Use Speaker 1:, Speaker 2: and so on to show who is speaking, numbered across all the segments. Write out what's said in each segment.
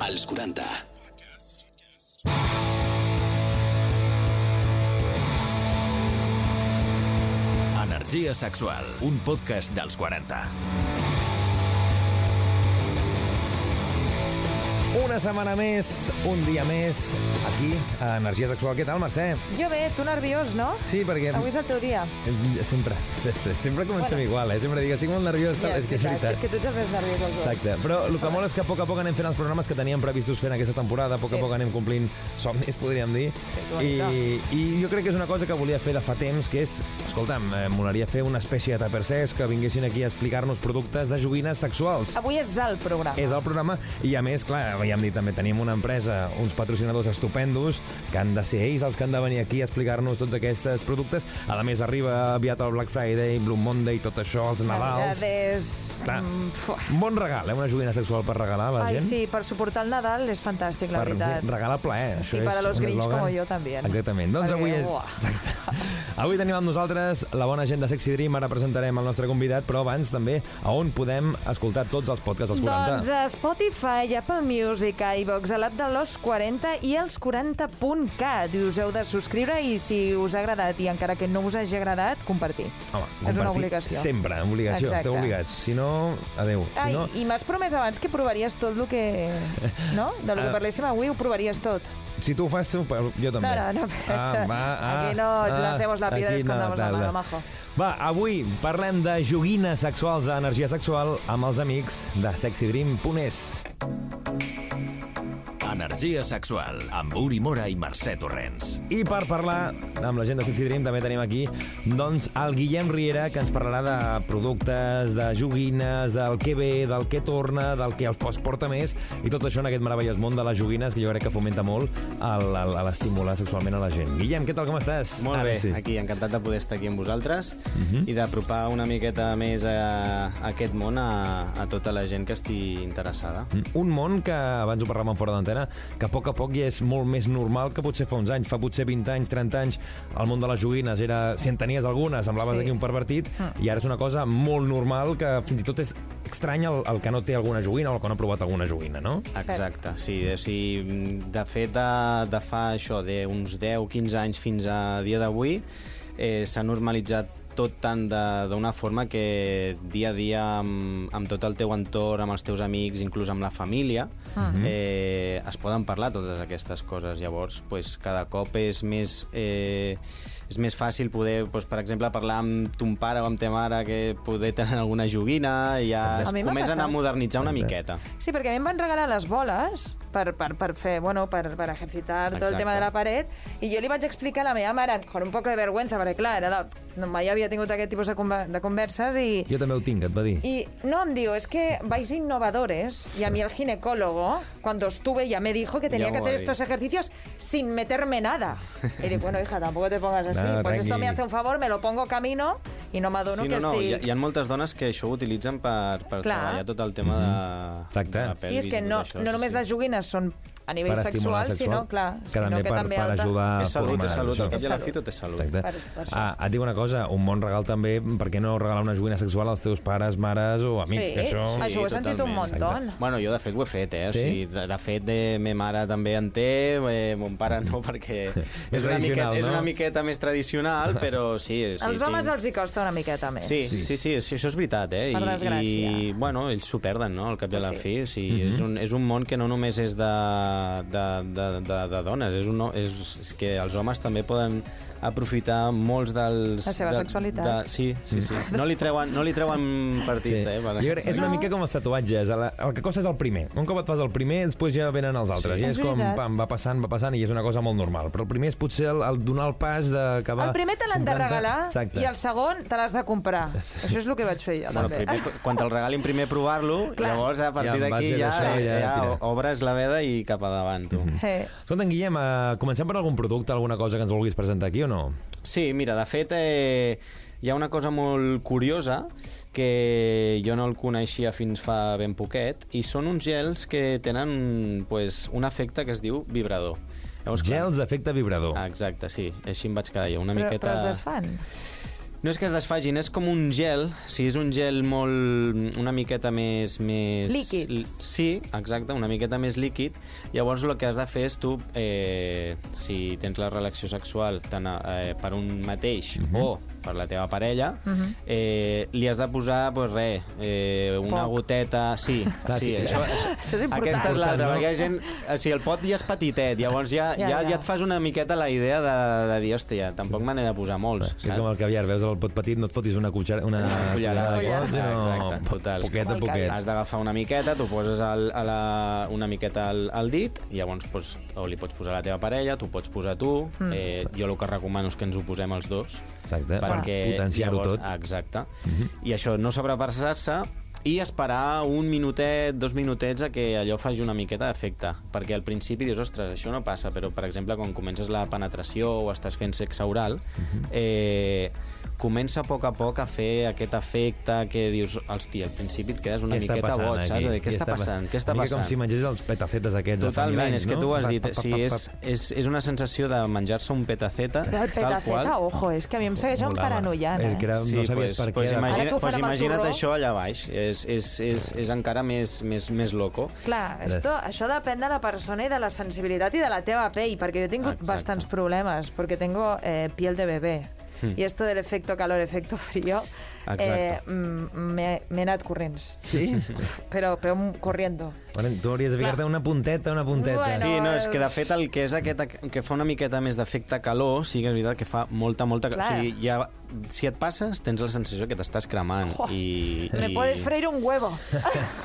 Speaker 1: als 40.
Speaker 2: Energia sexual, un podcast dels 40.
Speaker 3: Una setmana més, un dia més, aquí, a Energia Sexual. Què tal, Mercè?
Speaker 4: Jo bé, tu nerviós, no?
Speaker 3: Sí, perquè... eh,
Speaker 4: Avui és el teu dia.
Speaker 3: Sempre, sempre comencem
Speaker 4: Bueno.
Speaker 3: igual, eh? Sempre dic, estic molt nerviós, tal, és que és veritat.
Speaker 4: és que tu ets el més nerviós dels dos.
Speaker 3: Exacte. Però el que mola és que a poc a poc anem fent els programes que teníem previstos fent aquesta temporada, a poc
Speaker 4: Sí.
Speaker 3: a poc anem complint somnis, podríem dir.
Speaker 4: que
Speaker 3: I, I jo crec que és una cosa que volia fer de fa temps, que és, escolta'm, eh, m'agradaria fer una espècie de tapercers que vinguessin aquí a explicar-nos productes de joguines sexuals.
Speaker 4: Avui és el programa.
Speaker 3: És el programa i, a més, clar, ja hem dit també, tenim una empresa, uns patrocinadors estupendos que han de ser ells els que han de venir aquí a explicar-nos tots aquests productes. A la més, arriba aviat el Black Friday, Blue Monday, tot això, els Nadals...
Speaker 4: Navidades...
Speaker 3: Clar,
Speaker 4: mm, fuà.
Speaker 3: un bon regal, eh? Una joguina sexual per regalar a la
Speaker 4: Ai,
Speaker 3: gent.
Speaker 4: sí, per suportar el Nadal és fantàstic, la
Speaker 3: per
Speaker 4: veritat.
Speaker 3: regalar plaer. Això
Speaker 4: I per
Speaker 3: és
Speaker 4: a los
Speaker 3: un
Speaker 4: grinch
Speaker 3: eslògan.
Speaker 4: como yo también.
Speaker 3: Exactament. Doncs
Speaker 4: eh? Perquè,
Speaker 3: avui, és...
Speaker 4: buah.
Speaker 3: Exacte. avui tenim amb nosaltres la bona gent de Sexy Dream. Ara presentarem el nostre convidat, però abans també a on podem escoltar tots els podcasts dels 40.
Speaker 4: Doncs a Spotify, Apple Music, iVox, a l'app de los 40 i els 40.cat. I us heu de subscriure i si us ha agradat i encara que no us hagi agradat, compartir.
Speaker 3: Home,
Speaker 4: és una
Speaker 3: compartir
Speaker 4: obligació.
Speaker 3: Sempre, eh, obligació.
Speaker 4: Exacte.
Speaker 3: Esteu obligats. Si no, adeu. Si
Speaker 4: Ai,
Speaker 3: no,
Speaker 4: i m'has promès abans que provaries tot el que... No? De lo que
Speaker 3: Ah.
Speaker 4: parléssim avui ho provaries tot.
Speaker 3: si tu ho fas, ho- jo també.
Speaker 4: No, no, no,
Speaker 3: Ah, va, ah,
Speaker 4: aquí no lancemos la piedra y
Speaker 3: aquí
Speaker 4: escondamos la
Speaker 3: tal,
Speaker 4: mano,
Speaker 3: tal.
Speaker 4: majo.
Speaker 3: Va, avui parlem de joguines sexuals a energia sexual amb els amics de sexydream.es.
Speaker 2: Energia sexual, amb Uri Mora i Mercè Torrents.
Speaker 3: I per parlar amb la gent de Sexy Dream també tenim aquí doncs, el Guillem Riera, que ens parlarà de productes, de joguines, del que ve, del que torna, del que els porta més, i tot això en aquest meravellós món de les joguines, que jo crec que fomenta molt el- el- el estimular sexualment a la gent. Guillem, què tal, com estàs?
Speaker 5: Molt
Speaker 3: Ara
Speaker 5: bé, Mhm.
Speaker 3: sí.
Speaker 5: aquí, encantat de poder estar aquí amb vosaltres i d'apropar una miqueta més a, a aquest món a, a tota la gent que estigui interessada.
Speaker 3: Un món que, abans ho parlàvem en fora d'antena, que a poc a poc ja és molt més normal que potser fa uns anys. Fa potser 20 anys, 30 anys, el món de les joguines era... Si en tenies alguna, semblaves
Speaker 4: Sí. Ah.
Speaker 3: sí. aquí un pervertit, i ara és una cosa molt normal que fins i tot és estrany el, el que no té alguna joguina o el que no ha provat alguna joguina, no?
Speaker 5: Exacte, sí. O sigui, mm, de fet, de, de fa això, de uns 10-15 anys fins a dia d'avui, eh, s'ha normalitzat tot tant de- d'una forma que dia a dia amb, amb tot el teu entorn, amb els teus amics, inclús amb la família,
Speaker 4: Mhm.
Speaker 5: eh, es poden parlar totes aquestes coses. Llavors, pues, cada cop és més... Eh, és més fàcil poder, doncs, per exemple, parlar amb ton pare o amb ta mare que poder tenen alguna joguina i ja
Speaker 4: A
Speaker 5: es
Speaker 4: mi m'ha
Speaker 5: comencen a
Speaker 4: passat.
Speaker 5: modernitzar una miqueta.
Speaker 4: Sí, perquè a mi em van regalar les boles per, per, per fer, bueno, per, per ejercitar tot el
Speaker 5: Exacte.
Speaker 4: tema de la paret i jo li vaig explicar a la meva mare, con un poc de vergüenza, perquè clar, era de, no, mai havia tingut aquest tipus de, conver- de converses i,
Speaker 3: Jo també ho tinc, et va dir.
Speaker 4: y no, digo, es que vais innovadores y a mí el ginecólogo, cuando estuve, ya me dijo que tenía
Speaker 5: Ya
Speaker 4: que hacer
Speaker 5: voy.
Speaker 4: estos ejercicios sin meterme nada. Y digo, bueno, hija, tampoco te pongas así.
Speaker 3: Nada,
Speaker 4: pues esto
Speaker 3: tranqui.
Speaker 4: me hace un favor, me lo pongo camino y no me adono
Speaker 5: Sí, no,
Speaker 4: que
Speaker 5: no,
Speaker 4: estoy...
Speaker 5: hi ha, hi ha moltes dones que això ho utilitzen per, per
Speaker 4: Clar.
Speaker 5: treballar tot el tema de,
Speaker 3: Mm-hmm. Exacte.
Speaker 5: de la
Speaker 4: Sí, és
Speaker 5: pelvis i
Speaker 4: que
Speaker 5: tot
Speaker 4: no,
Speaker 5: això,
Speaker 4: no
Speaker 5: sí,
Speaker 4: només
Speaker 5: sí.
Speaker 4: les joguines són a nivell
Speaker 3: Per estimular
Speaker 4: sexual,
Speaker 3: sexual,
Speaker 4: sinó, clar,
Speaker 3: que
Speaker 4: sinó
Speaker 3: també
Speaker 4: que
Speaker 3: per,
Speaker 4: també
Speaker 3: per
Speaker 4: el de-
Speaker 3: ajudar
Speaker 5: És salut,
Speaker 3: a
Speaker 5: és
Speaker 3: formar
Speaker 5: salut,
Speaker 3: això.
Speaker 5: al cap i a la
Speaker 4: És
Speaker 5: fi tot és salut.
Speaker 3: Exacte.
Speaker 4: Per- per això.
Speaker 3: ah, et dic una cosa, un bon regal també, per què no regalar una joguina sexual als teus pares, mares o amics?
Speaker 4: Sí,
Speaker 3: que això...
Speaker 4: sí. Això ho he sentit un
Speaker 5: totalment.
Speaker 4: montón. Exacte.
Speaker 5: Bueno, jo de fet ho he fet, eh? O
Speaker 3: Sí?
Speaker 5: sigui, de, de fet, eh, me mare també en té, eh, mon pare no, perquè és, una miqueta,
Speaker 3: tradicional,
Speaker 5: és
Speaker 3: no?
Speaker 5: una miqueta més tradicional, però sí... sí
Speaker 4: Als homes els hi costa una miqueta més.
Speaker 5: Sí, sí, sí, sí, això és veritat, eh?
Speaker 4: Per desgràcia.
Speaker 5: I, bueno, ells s'ho perden, no?, al cap i a la
Speaker 4: Sí.
Speaker 5: fi. O sigui, és,
Speaker 3: Mhm.
Speaker 5: un, és un món que no només és de, de, de, de, de dones, és, un, és, és que els homes també poden aprofitar molts dels...
Speaker 4: La seva
Speaker 5: de,
Speaker 4: sexualitat. Mm.
Speaker 5: De, sí, sí, sí. No li treuen, no li treuen partit,
Speaker 3: Sí.
Speaker 5: eh? per-
Speaker 3: Jo crec, que és una mica com els tatuatges. El, el que costa és el primer. Un cop et fas el primer, després ja venen els altres.
Speaker 5: Sí.
Speaker 3: I és,
Speaker 4: És
Speaker 3: com,
Speaker 4: veritat.
Speaker 3: pam, va passant, va passant, i és una cosa molt normal. Però el primer és potser el, el donar el pas de que va...
Speaker 4: El primer te l'han de
Speaker 3: intentar-
Speaker 4: regalar
Speaker 3: Exacte.
Speaker 4: i el segon te l'has de comprar. Això és el que vaig fer jo,
Speaker 5: Bueno,
Speaker 4: també.
Speaker 5: primer, quan te'l regalin, primer provar-lo,
Speaker 4: Clar.
Speaker 5: llavors a partir
Speaker 3: Ja, en
Speaker 5: d'aquí
Speaker 3: base
Speaker 5: ja,
Speaker 3: d'això, ja
Speaker 5: ja,
Speaker 3: tira. Mhm.
Speaker 5: obres la veda i cap a davant, tu.
Speaker 4: Eh,
Speaker 3: Escolta, Guillem, eh, comencem per algun producte, alguna cosa que ens vulguis presentar aquí o no?
Speaker 5: Sí, mira, de fet eh, hi ha una cosa molt curiosa que jo no el coneixia fins fa ben poquet i són uns gels que tenen pues, un efecte que es diu vibrador. Llavors, clar, Ah,
Speaker 3: Gels d'efecte vibrador.
Speaker 5: Exacte, sí, així em vaig quedar jo, una
Speaker 4: però,
Speaker 5: miqueta...
Speaker 4: però es desfan.
Speaker 5: No és que es desfagin, és com un gel, si és un gel molt... una miqueta més... més
Speaker 4: Líquid.
Speaker 5: l- Sí, exacte, una miqueta més líquid. Llavors el que has de fer és tu, eh, si tens la relació sexual tant eh, per un mateix
Speaker 3: Mhm.
Speaker 5: o per la teva parella,
Speaker 4: Mhm.
Speaker 5: eh, li has de posar, pues, res, eh, una
Speaker 4: Poc.
Speaker 5: goteta... Sí,
Speaker 3: Clar,
Speaker 5: sí,
Speaker 3: sí, sí.
Speaker 5: això, això,
Speaker 4: Això és important.
Speaker 5: aquesta és
Speaker 3: Important,
Speaker 5: l'altra,
Speaker 3: no?
Speaker 5: perquè hi ha gent... O sigui, el pot ja és petitet, llavors ja,
Speaker 4: Ja,
Speaker 5: ja, ja,
Speaker 4: ja.
Speaker 5: ja et fas una miqueta la idea de, de dir, hòstia, tampoc me n'he de posar molts.
Speaker 3: És com el caviar, veus el pot petit, no et fotis una cuixara... Una,
Speaker 5: Una
Speaker 3: cullerada,
Speaker 5: cullerada, Ah, exacte,
Speaker 3: no,
Speaker 5: exacte, total.
Speaker 3: Poquet a
Speaker 4: Igual
Speaker 3: poquet.
Speaker 5: Has d'agafar una miqueta, t'ho poses al, a la, una miqueta al, al dit, i llavors pues, o li pots posar a la teva parella, t'ho pots posar tu, mm. eh, jo el que recomano és que ens ho posem els dos.
Speaker 3: Exacte, per potenciar-ho
Speaker 5: llavors-
Speaker 3: tot.
Speaker 5: Exacte. I això, no sobrepassar-se i esperar un minutet, dos minutets a que allò faci una miqueta d'efecte. Perquè al principi dius, ostres, això no passa, però per exemple quan comences la penetració o estàs fent sexe oral, eh, comença a poc a poc a fer aquest efecte que dius, hòstia, al principi et quedes una
Speaker 3: Què està
Speaker 5: miqueta
Speaker 3: passant
Speaker 5: boig, saps?
Speaker 3: aquí?
Speaker 5: De dir, Què està passant? Què està
Speaker 3: Una mica
Speaker 5: passant?
Speaker 3: com si mengés els petacetes aquests de fa mil
Speaker 5: Totalment,
Speaker 3: anys,
Speaker 5: és que
Speaker 3: no?
Speaker 5: tu ho has
Speaker 3: Pa,
Speaker 5: dit.
Speaker 3: pa, pa,
Speaker 5: Sí,
Speaker 3: pa,
Speaker 5: és,
Speaker 3: pa.
Speaker 5: és, és una sensació de menjar-se un petaceta,
Speaker 4: El
Speaker 5: tal qual.
Speaker 4: petaceta, ojo, és que a mi em segueix un
Speaker 3: Molava.
Speaker 4: paranoiant,
Speaker 3: És que
Speaker 4: eh?
Speaker 3: era, no sabies per
Speaker 5: pues
Speaker 3: què.
Speaker 4: imagina- Ara
Speaker 5: Imagina,
Speaker 4: que ho
Speaker 5: pues
Speaker 4: farem al
Speaker 5: imagina't
Speaker 4: torró.
Speaker 5: això allà baix. És, és, és, és encara més, més, més loco.
Speaker 4: Clar, esto, això depèn de la persona i de la sensibilitat i de la teva pell, perquè jo he tingut
Speaker 5: Exacte.
Speaker 4: bastants problemes, perquè tengo eh, piel de bebé. Mm. I esto del efecto calor, efecto frío, eh,
Speaker 5: Exacte.
Speaker 4: mm, m'he m'he anat corrents.
Speaker 3: Sí?
Speaker 4: Però, però corriendo.
Speaker 3: Bueno, tu hauries de ficar-te una punteta, una punteta.
Speaker 4: Bueno.
Speaker 5: Sí, no,
Speaker 4: el-
Speaker 5: és que de fet el que és aquest que fa una miqueta més d'efecte calor, sí que és veritat que fa molta, molta calor.
Speaker 4: Clar.
Speaker 5: O sigui, ja, si et passes, tens la sensació que t'estàs cremant.
Speaker 4: Jo,
Speaker 5: I,
Speaker 4: Me
Speaker 5: i...
Speaker 4: puedes freír un huevo.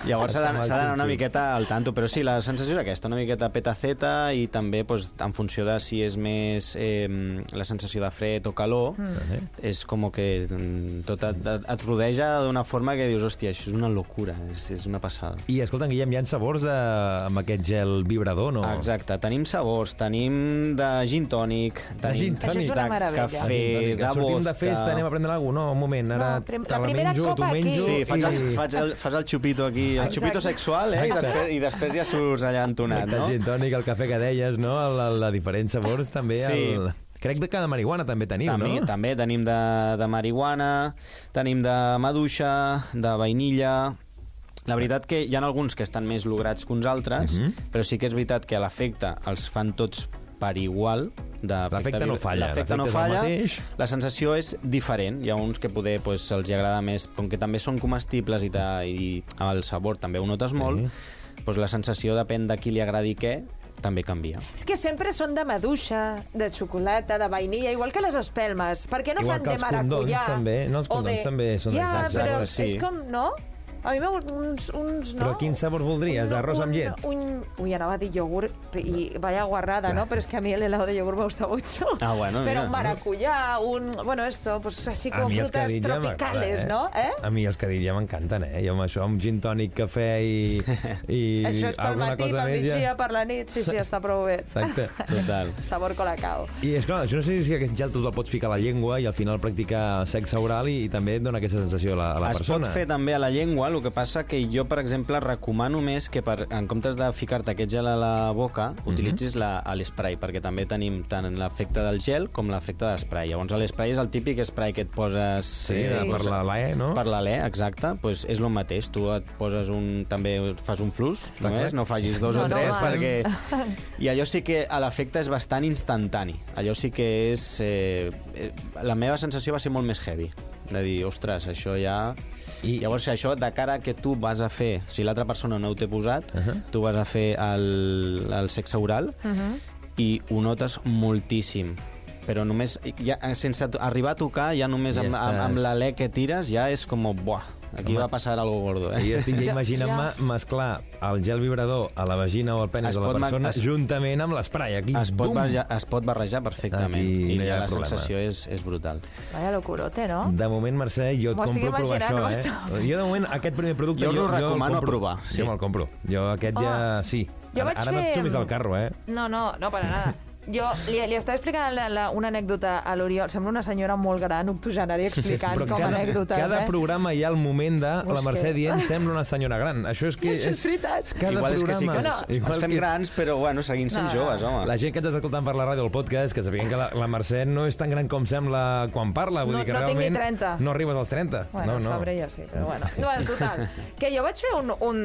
Speaker 5: Llavors s'ha d'anar s'ha d'anar una
Speaker 3: Sí, sí.
Speaker 5: miqueta al tanto, però sí, la sensació és aquesta, una miqueta petaceta i també pues, en funció de si és més eh, la sensació de fred o calor, mm. és com que mm, tot et, et- et rodeja d'una forma que dius, hòstia, això és una locura, és, és una passada.
Speaker 3: I escolta, Guillem, hi ha sabors eh, amb aquest gel vibrador, no?
Speaker 5: Exacte, tenim sabors, tenim de gin tònic, tenim
Speaker 3: gin tònic. Això
Speaker 4: és una meravella.
Speaker 5: cafè,
Speaker 3: Ah, sí,
Speaker 5: de
Speaker 3: doncs,
Speaker 5: vodka...
Speaker 3: Sortim de festa, anem a prendre alguna cosa? No, un moment, ara
Speaker 4: No, prim-
Speaker 3: te
Speaker 4: la
Speaker 3: la
Speaker 4: primera
Speaker 3: menjo,
Speaker 4: copa
Speaker 3: tu menjo...
Speaker 4: aquí.
Speaker 5: Sí, faig el,
Speaker 3: i-
Speaker 5: faig, el, fas el xupito aquí, el
Speaker 4: Exacte.
Speaker 5: xupito sexual, eh? I després, I després ja surts allà entonat,
Speaker 3: El
Speaker 5: no? Ah,
Speaker 3: gin tònic, el cafè que deies, no? El, el de diferents sabors, també.
Speaker 5: Sí.
Speaker 3: El... Crec que de marihuana també teniu,
Speaker 5: també,
Speaker 3: no?
Speaker 5: També tenim de, de marihuana, tenim de maduixa, de vainilla... La veritat que hi ha alguns que estan més lograts que uns altres,
Speaker 3: Mhm.
Speaker 5: però sí que és veritat que a l'efecte els fan tots per igual. d'efecte
Speaker 3: L'efecte no
Speaker 5: vibra-
Speaker 3: falla,
Speaker 5: L'efecte
Speaker 3: l'efecte
Speaker 5: no
Speaker 3: és el
Speaker 5: falla,
Speaker 3: mateix.
Speaker 5: la sensació és diferent. Hi ha uns que poder pues, els hi agrada més, com que també són comestibles i, te, i el sabor també ho notes molt, pues, la sensació depèn de qui li agradi què, també canvia.
Speaker 4: És que sempre són de maduixa, de xocolata, de vainilla, igual que les espelmes. Per què no
Speaker 3: Igual
Speaker 4: fan
Speaker 3: que
Speaker 4: de
Speaker 3: els
Speaker 4: maracullà?
Speaker 3: condons, també. No, els
Speaker 4: o
Speaker 3: condons també són
Speaker 4: ja,
Speaker 3: exactes.
Speaker 4: però
Speaker 5: Exacte, sí.
Speaker 4: és com, no? A mi m'agrada uns, uns, no?
Speaker 3: Però quin sabor voldries?
Speaker 4: Un-
Speaker 3: D'arròs
Speaker 4: un-
Speaker 3: amb llet?
Speaker 4: Un, ui, anava a dir iogurt i vaya guarrada, no? Però és que a mi el helado de iogurt me gusta mucho.
Speaker 5: Ah, bueno,
Speaker 4: Però
Speaker 5: mira.
Speaker 4: un maracullà, un... Bueno, esto, pues así
Speaker 3: A
Speaker 4: como
Speaker 3: mi els
Speaker 4: frutas
Speaker 3: Cadilla
Speaker 4: tropicales,
Speaker 3: m'agrada,
Speaker 4: no? Eh?
Speaker 3: A mi els Cadilla m'encanten, eh? Jo amb això, amb gin tònic, cafè i... i
Speaker 4: Això és pel
Speaker 3: alguna
Speaker 4: matí,
Speaker 3: cosa
Speaker 4: pel
Speaker 3: més, ja.
Speaker 4: migdia, per la nit. Sí, sí, està prou bé.
Speaker 3: Exacte.
Speaker 5: Total.
Speaker 4: Sabor colacao.
Speaker 3: I és clar, jo no sé si aquest gel tu te'l pots ficar a la llengua i al final practicar sexe oral i, i també et dona aquesta sensació a la, a la
Speaker 5: es
Speaker 3: persona.
Speaker 5: pot fer també a la llengua, el que passa que jo, per exemple, recomano més que per, en comptes de ficar-te aquest gel a la boca,
Speaker 3: Mhm.
Speaker 5: utilitzis la- a l'esprai, perquè també tenim tant l'efecte del gel com l'efecte de l'esprai. Llavors, l'esprai és el típic esprai que et poses...
Speaker 3: Sí, de per la- l'e, no?
Speaker 5: Per l'alè, exacte. Pues és el mateix. Tu et poses un... també fas un flux, només, no facis dos
Speaker 4: No,
Speaker 5: o
Speaker 4: no,
Speaker 5: tres,
Speaker 4: abans.
Speaker 5: perquè... I allò sí que a l'efecte és bastant instantani. Allò sí que és... Eh, eh, la meva sensació va ser molt més heavy. De dir, ostres, això ja...
Speaker 3: I-
Speaker 5: I... Llavors, això de cara a que tu vas a fer... Si l'altra persona no ho té posat, uh -huh. tu vas a fer el, el sexe oral uh -huh. i ho notes moltíssim. Però només... Ja, sense to- arribar a tocar, ja només
Speaker 3: Ja
Speaker 5: ja amb, amb, amb
Speaker 3: estàs.
Speaker 5: l'alè que tires, ja és com... Buah, aquí Home. va passar algo gordo, eh?
Speaker 3: I estic ja imaginant-me mesclar el gel vibrador a la vagina o al penis
Speaker 5: Es
Speaker 3: de la
Speaker 5: pot ma-
Speaker 3: persona
Speaker 5: es-
Speaker 3: juntament amb l'esprai. Aquí,
Speaker 5: Es pot,
Speaker 3: bum!
Speaker 5: barrejar, es pot barrejar perfectament
Speaker 3: Aquí
Speaker 5: i
Speaker 3: no hi ha
Speaker 5: ja la
Speaker 3: problema.
Speaker 5: sensació és, és brutal.
Speaker 4: Vaya locurote, no?
Speaker 3: De moment, Mercè, jo et
Speaker 4: M'ho estic
Speaker 3: compro provar això,
Speaker 4: imaginant,
Speaker 3: eh? Jo, de moment, aquest primer producte...
Speaker 5: Jo us ho
Speaker 3: el
Speaker 5: recomano
Speaker 3: compro.
Speaker 5: provar, sí.
Speaker 3: Jo me'l compro. Jo aquest ja...
Speaker 4: Home,
Speaker 3: Sí.
Speaker 4: Oh. jo
Speaker 3: Ara,
Speaker 4: vaig
Speaker 3: ara no
Speaker 4: fer-
Speaker 3: et xumis del carro, eh?
Speaker 4: No, no, no para nada. Jo li, li estava explicant la, la, una anècdota a l'Oriol. Sembla una senyora molt gran, octogenària, explicant com a
Speaker 3: cada,
Speaker 4: anècdotes.
Speaker 3: cada
Speaker 4: eh?
Speaker 3: programa hi ha el moment de
Speaker 4: Ho
Speaker 3: la
Speaker 4: és
Speaker 3: Mercè
Speaker 4: que-
Speaker 3: dient sembla una senyora gran. Això és que...
Speaker 4: Això és veritat.
Speaker 3: Cada
Speaker 5: Igual és que sí
Speaker 3: programa.
Speaker 5: que ens,
Speaker 4: No,
Speaker 5: ens fem
Speaker 3: que-
Speaker 5: grans, però bueno, seguim sent
Speaker 4: No, no.
Speaker 5: joves, home.
Speaker 3: La gent que ens està escoltant per la ràdio o el podcast, que sapiguem que la, la Mercè no és tan gran com sembla quan parla. Vull
Speaker 4: No-
Speaker 3: dir que
Speaker 4: no tinc ni
Speaker 3: realment
Speaker 4: 30.
Speaker 3: No arribes als 30.
Speaker 4: Bueno,
Speaker 3: no, no.
Speaker 4: Fabra ja sí, però bueno. No, en total, que jo vaig fer un... un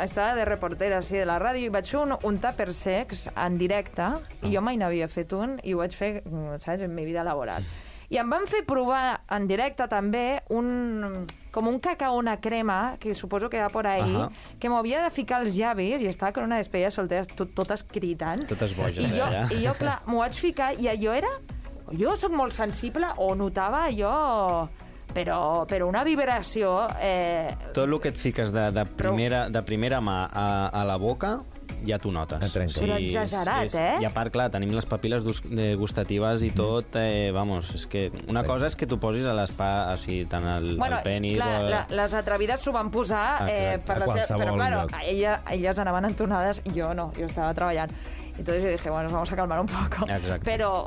Speaker 4: estava de reportera, sí, de la ràdio, i vaig fer un, un tàper sex en directe, i jo mai n'havia fet un, i ho vaig fer, mm, saps, en mi vida laboral. I em van fer provar en directe també un, com un cacao, una crema, que suposo que va por ahí, uh
Speaker 5: Ahà.
Speaker 4: -huh. que m'havia de ficar els llavis i estava con una despedida soltera, tot, tota totes cridant.
Speaker 5: Totes boges,
Speaker 4: I jo,
Speaker 5: allà.
Speaker 4: i jo clar, m'ho vaig ficar i allò era... Jo sóc molt sensible o notava allò... Però, però una vibració... Eh,
Speaker 5: Tot el que et fiques de, de, primera, de primera mà a, a la boca ja t'ho notes.
Speaker 3: Et trenca.
Speaker 4: Però
Speaker 5: és-
Speaker 4: exagerat,
Speaker 5: és,
Speaker 4: eh?
Speaker 5: I a part, clar, tenim les papil·les dus- de- gustatives
Speaker 3: Mm.
Speaker 5: i tot, eh, vamos, és que una cosa és que t'ho posis a l'espa, o sigui, tant al, al penis...
Speaker 4: clar,
Speaker 5: o...
Speaker 4: la, les atrevides s'ho van posar eh,
Speaker 5: Exacte.
Speaker 4: per
Speaker 3: A
Speaker 4: la seva...
Speaker 3: qualsevol
Speaker 4: Però, claro,
Speaker 3: lloc.
Speaker 4: a ella, elles anaven entonades, jo no, jo estava treballant. Entonces yo dije, bueno, nos vamos a calmar un poco.
Speaker 5: Exacte.
Speaker 4: Però,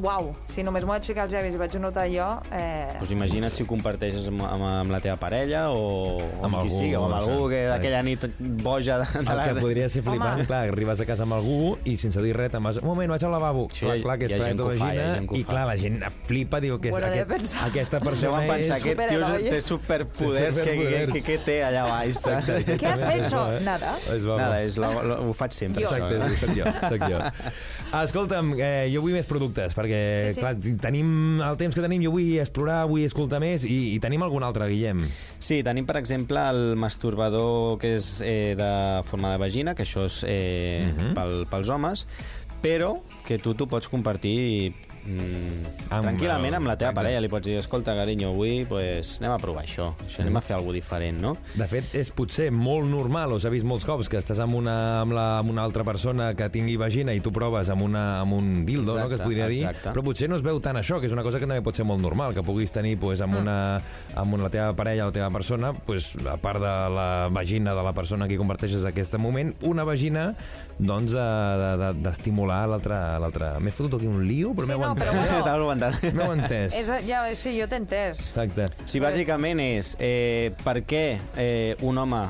Speaker 4: uau, si només m'ho vaig ficar als llavis i vaig notar jo... Eh,
Speaker 5: Pues imagina't si ho comparteixes amb, amb, amb la teva parella o, o amb,
Speaker 3: Amb
Speaker 5: qui
Speaker 3: algú,
Speaker 5: sigui, o amb
Speaker 3: no sé.
Speaker 5: algú que d'aquella nit boja de, de
Speaker 3: El
Speaker 5: la...
Speaker 3: que podria ser flipant,
Speaker 4: Home.
Speaker 3: Home. clar, arribes a casa amb algú i sense dir res te'n vas... Un moment, vaig al lavabo.
Speaker 5: Sí,
Speaker 3: clar,
Speaker 5: hi ha-
Speaker 3: clar, que
Speaker 5: hi
Speaker 3: és
Speaker 5: ha
Speaker 3: planet
Speaker 5: gent que
Speaker 3: de
Speaker 5: ho fa, hi ha
Speaker 3: vagina
Speaker 5: gent que ho
Speaker 3: i
Speaker 5: fa.
Speaker 3: clar, la gent flipa, diu que és,
Speaker 4: Bueno, he
Speaker 3: aquest,
Speaker 4: pensat.
Speaker 3: aquesta persona
Speaker 5: Deuen pensar
Speaker 3: és...
Speaker 5: que aquest tio
Speaker 4: Superheroi.
Speaker 5: té superpoders, que, que,
Speaker 3: Superpoder.
Speaker 5: que, que té allà baix. Exacte.
Speaker 4: Què has hecho? Nada.
Speaker 3: És bo.
Speaker 5: Nada, és la, la, ho faig sempre.
Speaker 4: Jo.
Speaker 5: això,
Speaker 3: Exacte,
Speaker 5: eh?
Speaker 3: sí, soc jo, soc jo. Escolta'm, eh, jo vull més productes, perquè,
Speaker 4: Sí, sí.
Speaker 3: clar, tenim el temps que tenim, jo vull explorar, vull escoltar més, i, i tenim algun altre, Guillem.
Speaker 5: Sí, tenim, per exemple, el masturbador que és eh, de forma de vagina, que això és eh,
Speaker 3: Mhm.
Speaker 5: pel, pels homes, però que tu t'ho pots compartir mm,
Speaker 3: Ah, Amb
Speaker 5: tranquil·lament
Speaker 3: el-
Speaker 5: amb la teva
Speaker 3: exacte.
Speaker 5: parella. Li pots dir, escolta, carinyo, avui pues, anem a provar això. això anem a fer alguna diferent, no?
Speaker 3: De fet, és potser molt normal, o s'ha vist molts cops, que estàs amb una, amb, la, amb una altra persona que tingui vagina i tu proves amb, una, amb un dildo, no,
Speaker 5: Exacte,
Speaker 3: que es podria dir,
Speaker 5: exacte.
Speaker 3: però potser no es veu tant això, que és una cosa que també pot ser molt normal, que puguis tenir pues,
Speaker 5: Mm.
Speaker 3: amb, una, amb una, la teva parella o la teva persona, pues, a part de la vagina de la persona que comparteixes aquest moment, una vagina doncs, eh, de- de- d'estimular de, l'altra... l'altra. M'he fotut aquí un lío, però
Speaker 4: Sí,
Speaker 3: m'heu
Speaker 4: no,
Speaker 3: entès.
Speaker 4: però bueno.
Speaker 5: T'has aguantat.
Speaker 3: M'heu entès.
Speaker 4: És, ja, sí, jo t'he entès.
Speaker 3: Exacte.
Speaker 5: Sí, bàsicament és eh, per què eh, un home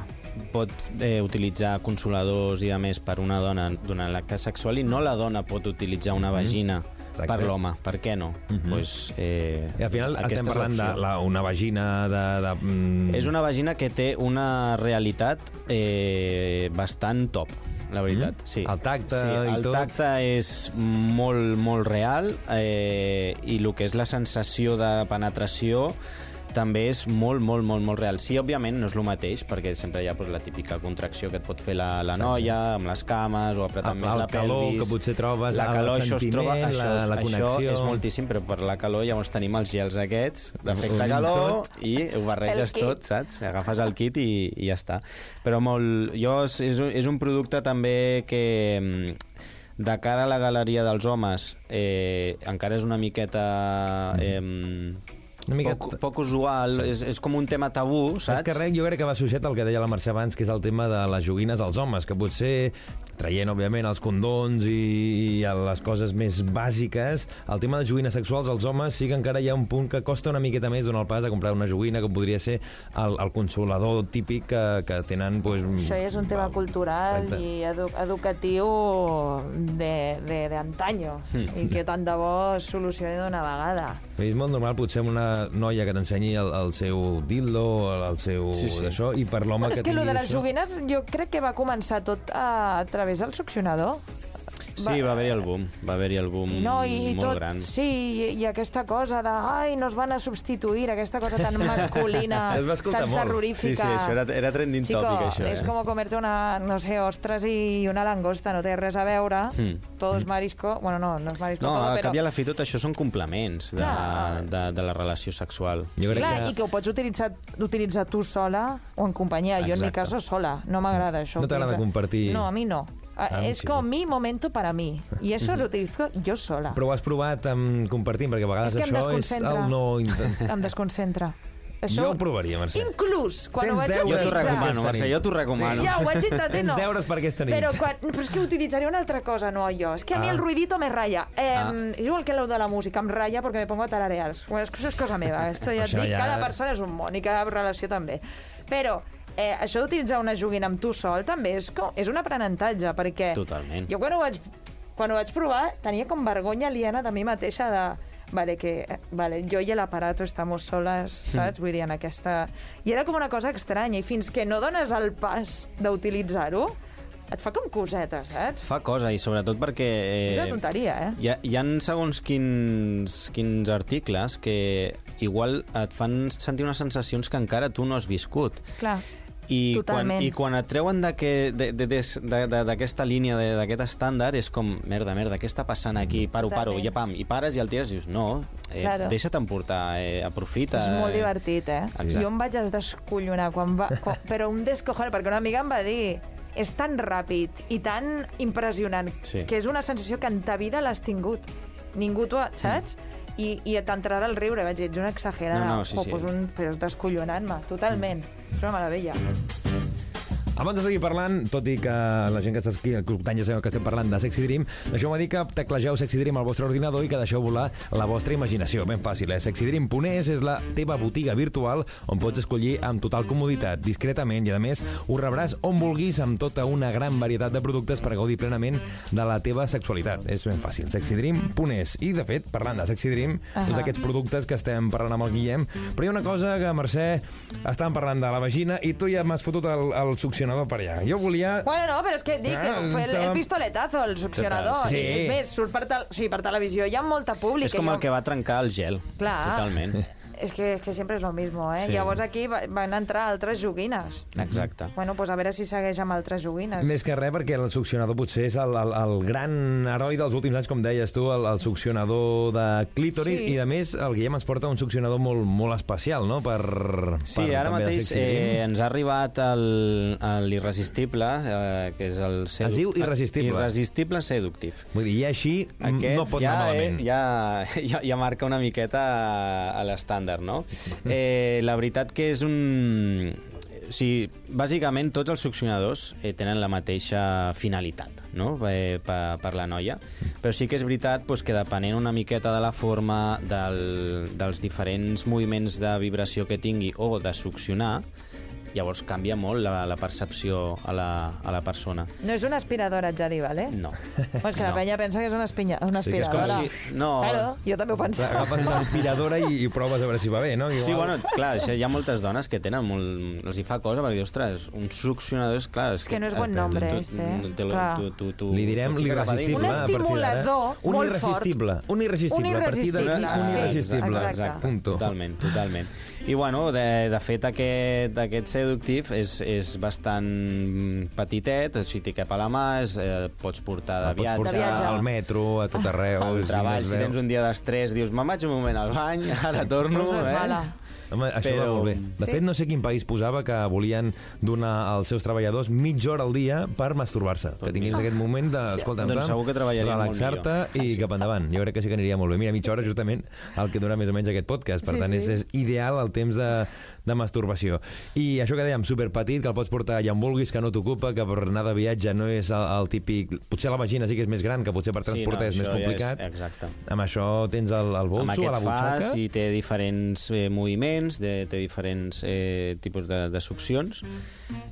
Speaker 5: pot eh, utilitzar consoladors i a més per una dona durant l'acte sexual i no la dona pot utilitzar una vagina
Speaker 3: Mhm. Exacte. Mhm.
Speaker 5: per l'home. Per què no? pues, eh,
Speaker 3: I al final
Speaker 5: aquesta és
Speaker 3: estem parlant de
Speaker 5: l'opció.
Speaker 3: la, una vagina de... de mm,
Speaker 5: És una vagina que té una realitat eh, bastant top, la veritat. Mm? Sí.
Speaker 3: El tacte
Speaker 5: sí,
Speaker 3: i
Speaker 5: el
Speaker 3: tot.
Speaker 5: tacte és molt, molt real eh, i el que és la sensació de penetració també és molt, molt, molt, molt real. Sí, òbviament, no és el mateix, perquè sempre hi ha doncs, la típica contracció que et pot fer la, la noia, amb les cames, o apretar
Speaker 3: El-
Speaker 5: més
Speaker 3: el
Speaker 5: la
Speaker 3: calor
Speaker 5: pelvis.
Speaker 3: que potser trobes,
Speaker 5: la
Speaker 3: el
Speaker 5: calor, això es troba,
Speaker 3: sentiment,
Speaker 5: això,
Speaker 3: la- la
Speaker 5: Això
Speaker 3: connexió.
Speaker 5: és moltíssim, però per la calor llavors tenim els gels aquests, d'efecte
Speaker 3: Unim
Speaker 5: calor,
Speaker 3: tot.
Speaker 5: i ho barreges
Speaker 4: El kit.
Speaker 5: tot, saps? Agafes el kit i, i ja està. Però molt... Jo, és, és un- és un producte també que mm, de cara a la galeria dels homes eh, encara és una miqueta... Eh,
Speaker 3: Una miqueta-
Speaker 5: Poc, poc usual, és, és com un tema tabú,
Speaker 3: Saps?
Speaker 5: saps?
Speaker 3: És que res, jo crec que va associat al que deia la Mercè abans, que és el tema de les joguines als homes, que potser, traient, òbviament, els condons i, i les coses més bàsiques, el tema de joguines sexuals als homes sí que encara hi ha un punt que costa una miqueta més donar el pas a comprar una joguina, com podria ser el, el consolador típic que, que tenen... Doncs,
Speaker 5: Mm.
Speaker 4: Això ja és un tema
Speaker 3: val.
Speaker 4: cultural
Speaker 3: Exacte.
Speaker 4: i edu educatiu de- de- d'antanyo
Speaker 5: Hmm.
Speaker 4: i que tant de bo es solucioni d'una vegada.
Speaker 3: És molt normal, potser, amb una noia que t'ensenyi el, el seu dildo, el, el seu...
Speaker 5: Sí, sí.
Speaker 3: Això, I per l'home
Speaker 4: Bueno, és
Speaker 3: que
Speaker 4: que lo
Speaker 3: tingui
Speaker 4: de les
Speaker 3: això...
Speaker 4: joguines jo crec que va començar tot a, a través del succionador.
Speaker 5: Sí, va haver-hi el boom, va haver-hi el boom
Speaker 4: I no, i, i
Speaker 5: Mm, molt
Speaker 4: tot,
Speaker 5: gran.
Speaker 4: sí, i, i aquesta cosa de ai, no es van a substituir, aquesta cosa tan masculina,
Speaker 3: Es va escoltar
Speaker 4: tan
Speaker 3: molt.
Speaker 5: Sí,
Speaker 4: terrorífica.
Speaker 5: sí, això era, era trending
Speaker 4: Chico,
Speaker 5: topic, això. eh?
Speaker 4: es como comerte una, no sé, ostras y una langosta, no té res a veure.
Speaker 5: Mm.
Speaker 4: Todo es marisco, bueno, no, no es marisco
Speaker 5: No,
Speaker 4: todo,
Speaker 5: al
Speaker 4: però...
Speaker 5: cap i a la fi tot això són complements de,
Speaker 4: Clar.
Speaker 5: de, de la relació sexual.
Speaker 3: Jo crec
Speaker 4: Clar,
Speaker 3: que-
Speaker 4: i que ho pots utilitzar, utilitzar tu sola o en companyia. Jo, en mi
Speaker 5: Exacte.
Speaker 4: caso, sola. No m'agrada això.
Speaker 3: No t'agrada
Speaker 4: utilitzar-
Speaker 3: compartir-
Speaker 4: No, a mi no.
Speaker 3: A
Speaker 4: Ah,
Speaker 3: mi
Speaker 4: es
Speaker 3: sí. Mhm.
Speaker 4: como mi momento para mí. Y eso lo utilizo yo sola.
Speaker 3: Però ho has provat amb compartint, perquè a vegades
Speaker 4: És que em
Speaker 3: això és
Speaker 4: desconcentra.
Speaker 3: el no... intent-
Speaker 4: Em desconcentra. Això,
Speaker 3: Jo ho provaria, Mercè.
Speaker 4: Inclús, quan
Speaker 3: Tens
Speaker 4: ho vaig
Speaker 3: deures
Speaker 5: Jo t'ho
Speaker 3: Exacte.
Speaker 5: recomano,
Speaker 3: Aquesta
Speaker 5: Mercè,
Speaker 3: nit.
Speaker 5: jo t'ho recomano.
Speaker 4: Ja, ho vaig intentar,
Speaker 3: Tens
Speaker 4: no.
Speaker 3: deures per aquesta nit.
Speaker 4: Però, quan, però és que utilitzaré una altra cosa, no jo. És que a mi
Speaker 3: Ah.
Speaker 4: el ruidito me raya. Eh,
Speaker 5: Ah.
Speaker 4: És igual que lo de la música, em raya perquè me pongo a tararear. Bueno, és, que això és cosa meva, eh? esto ja et
Speaker 3: Això
Speaker 4: dic,
Speaker 3: ja-
Speaker 4: cada persona és un món i cada relació també. Però eh, això d'utilitzar una joguina amb tu sol també és, com, és un aprenentatge, perquè...
Speaker 5: Totalment.
Speaker 4: Jo quan ho vaig, quan ho vaig provar tenia com vergonya aliena de mi mateixa de... Vale, que, vale, jo i l'aparato estamos soles, saps? Vull dir, en aquesta... I era com una cosa estranya, i fins que no dones el pas d'utilitzar-ho, et fa com coseta, saps?
Speaker 5: Fa cosa, i sobretot perquè... Eh,
Speaker 4: És una tonteria, eh?
Speaker 5: Hi ha, hi ha segons quins, quins articles que igual et fan sentir unes sensacions que encara tu no has viscut.
Speaker 4: Clar.
Speaker 5: I quan,
Speaker 4: Totalment.
Speaker 5: I quan et treuen d'aquest- de- de- des- de- de- d'aquesta línia, de- d'aquest estàndard, és com, merda, merda, què està passant aquí? Paro, paro,
Speaker 4: Mm. Totalment.
Speaker 5: i pam, i pares i el tires i dius, no, eh,
Speaker 4: Claro.
Speaker 5: deixa't emportar, eh, aprofita.
Speaker 4: És molt
Speaker 5: eh.
Speaker 4: divertit, eh?
Speaker 5: Exacte.
Speaker 4: Jo em vaig descollonar, quan va, quan, però un descojonar, perquè una amiga em va dir és tan ràpid i tan impressionant
Speaker 5: Sí.
Speaker 4: que és una sensació que en ta vida l'has tingut. Ningú t'ho ha,
Speaker 5: Mm.
Speaker 4: saps? I, i et entrarà el riure, vaig dir, ets una exagerada.
Speaker 5: No, no, sí,
Speaker 4: Jo,
Speaker 5: sí. Mm.
Speaker 4: Pues un, però descollonant-me, totalment. És una meravella.
Speaker 3: Abans de seguir parlant, tot i que la gent que està aquí escoltant ja sabeu que estem parlant de Sexy Dream, deixeu-me dir que teclegeu Sexy Dream al vostre ordinador i que deixeu volar la vostra imaginació. Ben fàcil, eh? sexydream.es és la teva botiga virtual on pots escollir amb total comoditat, discretament, i a més ho rebràs on vulguis amb tota una gran varietat de productes per gaudir plenament de la teva sexualitat. És ben fàcil, sexydream.es. I, de fet, parlant de Sexy Dream, uh -huh.
Speaker 4: Ahà.
Speaker 3: aquests productes que estem parlant amb el Guillem, però hi ha una cosa que, Mercè, estàvem parlant de la vagina i tu ja m'has fotut el, el succionador per allà. Jo volia...
Speaker 4: Bueno, no, però és que et dic,
Speaker 3: Ah,
Speaker 4: fue el, el
Speaker 3: tam-
Speaker 4: pistoletazo, el succionador.
Speaker 3: Total, sí.
Speaker 4: I, és més, surt per, tel, o sigui, per televisió, hi ha molta pública.
Speaker 5: És com
Speaker 4: jo-
Speaker 5: el que va trencar el gel.
Speaker 4: Clar.
Speaker 5: Totalment.
Speaker 4: És que, és que sempre és lo mismo, eh?
Speaker 5: Sí.
Speaker 4: Sí. Llavors aquí va- van entrar altres joguines.
Speaker 5: Exacte.
Speaker 4: Bueno, pues a veure si segueix amb altres joguines.
Speaker 3: Més que res, perquè el succionador potser és el, el, el gran heroi dels últims anys, com deies tu, el, el succionador de clítoris,
Speaker 4: Sí.
Speaker 3: i a més el Guillem ens porta un succionador molt, molt especial, no?, per...
Speaker 5: Sí,
Speaker 3: per, també
Speaker 5: ara
Speaker 3: el
Speaker 5: mateix
Speaker 3: Sexy Dream.
Speaker 5: eh, ens ha arribat el- el l'irresistible, eh, que és el... seduc-
Speaker 3: Es diu Irresistible.
Speaker 5: Irresistible seductiv.
Speaker 3: Vull dir, i així mm,
Speaker 5: Aquest
Speaker 3: no pot
Speaker 5: ja,
Speaker 3: anar
Speaker 5: eh,
Speaker 3: malament.
Speaker 5: ja, ja, ja marca una miqueta a, a l'estàndard, no?
Speaker 3: Mm-hmm.
Speaker 5: Eh, la veritat que és un... O sigui, bàsicament tots els succionadors eh, tenen la mateixa finalitat no? eh, per, per la noia, però sí que és veritat doncs, que depenent una miqueta de la forma, del, dels diferents moviments de vibració que tingui o de succionar, llavors canvia molt la, la percepció a la, a la persona.
Speaker 4: No és una aspiradora, et ja dic, vale?
Speaker 5: No.
Speaker 4: Però és que la
Speaker 5: No.
Speaker 4: penya pensa que és una, espinya, una
Speaker 3: Sí, que és
Speaker 5: com
Speaker 4: aspiradora.
Speaker 5: si- no.
Speaker 4: Claro, jo també ho pensava.
Speaker 3: Agafes una aspiradora i, i proves a veure si va bé, no? Igual...
Speaker 5: Sí, bueno, clar, això hi ha moltes dones que tenen molt... Els hi fa cosa perquè, ostres, un succionador és clar... És
Speaker 4: que no és bon nombre, este, eh?
Speaker 5: Tu,
Speaker 4: Clar.
Speaker 5: tu, tu, tu,
Speaker 3: Li direm
Speaker 5: tu fica cap a dins.
Speaker 3: l'irresistible.
Speaker 4: Un
Speaker 3: a partir d'ara.
Speaker 4: estimulador
Speaker 3: un
Speaker 4: molt
Speaker 3: irresistible.
Speaker 4: fort.
Speaker 3: Un
Speaker 4: Un
Speaker 3: irresistible. A partir d'aquí,
Speaker 4: irresistible,
Speaker 3: un
Speaker 4: sí,
Speaker 3: irresistible.
Speaker 4: exacte.
Speaker 3: Punto.
Speaker 5: Totalment, totalment. I bueno, de, de fet aquest, aquest seductiv és, és bastant petitet, així té cap a la mà, és, eh, pots portar de
Speaker 3: El pots
Speaker 5: viatge,
Speaker 3: portar
Speaker 4: viatge.
Speaker 3: al metro, a tot arreu.
Speaker 5: al
Speaker 3: és
Speaker 5: treball, si
Speaker 3: veu.
Speaker 5: tens un dia d'estrès, dius, me'n vaig un moment al bany, ara torno,
Speaker 4: Però no és
Speaker 5: eh?
Speaker 4: mala.
Speaker 3: Home, això però... va
Speaker 5: Però-
Speaker 3: molt bé. De
Speaker 4: Sí.
Speaker 3: fet, no sé quin país posava que volien donar als seus treballadors mitja hora al dia per masturbar-se. Que tinguis aquest moment de, escolta,
Speaker 5: Doncs
Speaker 3: pam,
Speaker 5: segur que treballarien molt Ah,
Speaker 3: relaxar-te i cap endavant. Jo crec que sí que aniria molt bé. Mira, mitja hora justament el que dura més o menys aquest podcast. Per
Speaker 4: Sí,
Speaker 3: tant,
Speaker 4: sí.
Speaker 3: És, és ideal el temps de, de masturbació. I això que dèiem, superpetit, que el pots portar allà on vulguis, que no t'ocupa, que per anar de viatge no és el, el típic... Potser la vagina sí que és més gran, que potser per
Speaker 5: Sí, no,
Speaker 3: transportar és més
Speaker 5: això ja és-
Speaker 3: complicat.
Speaker 5: exacte.
Speaker 3: Amb això tens el, el
Speaker 5: amb
Speaker 3: bolso, a
Speaker 5: aquest
Speaker 3: la butxaca...
Speaker 5: fas i té diferents eh, moviments, de, té diferents eh, tipus de, de succions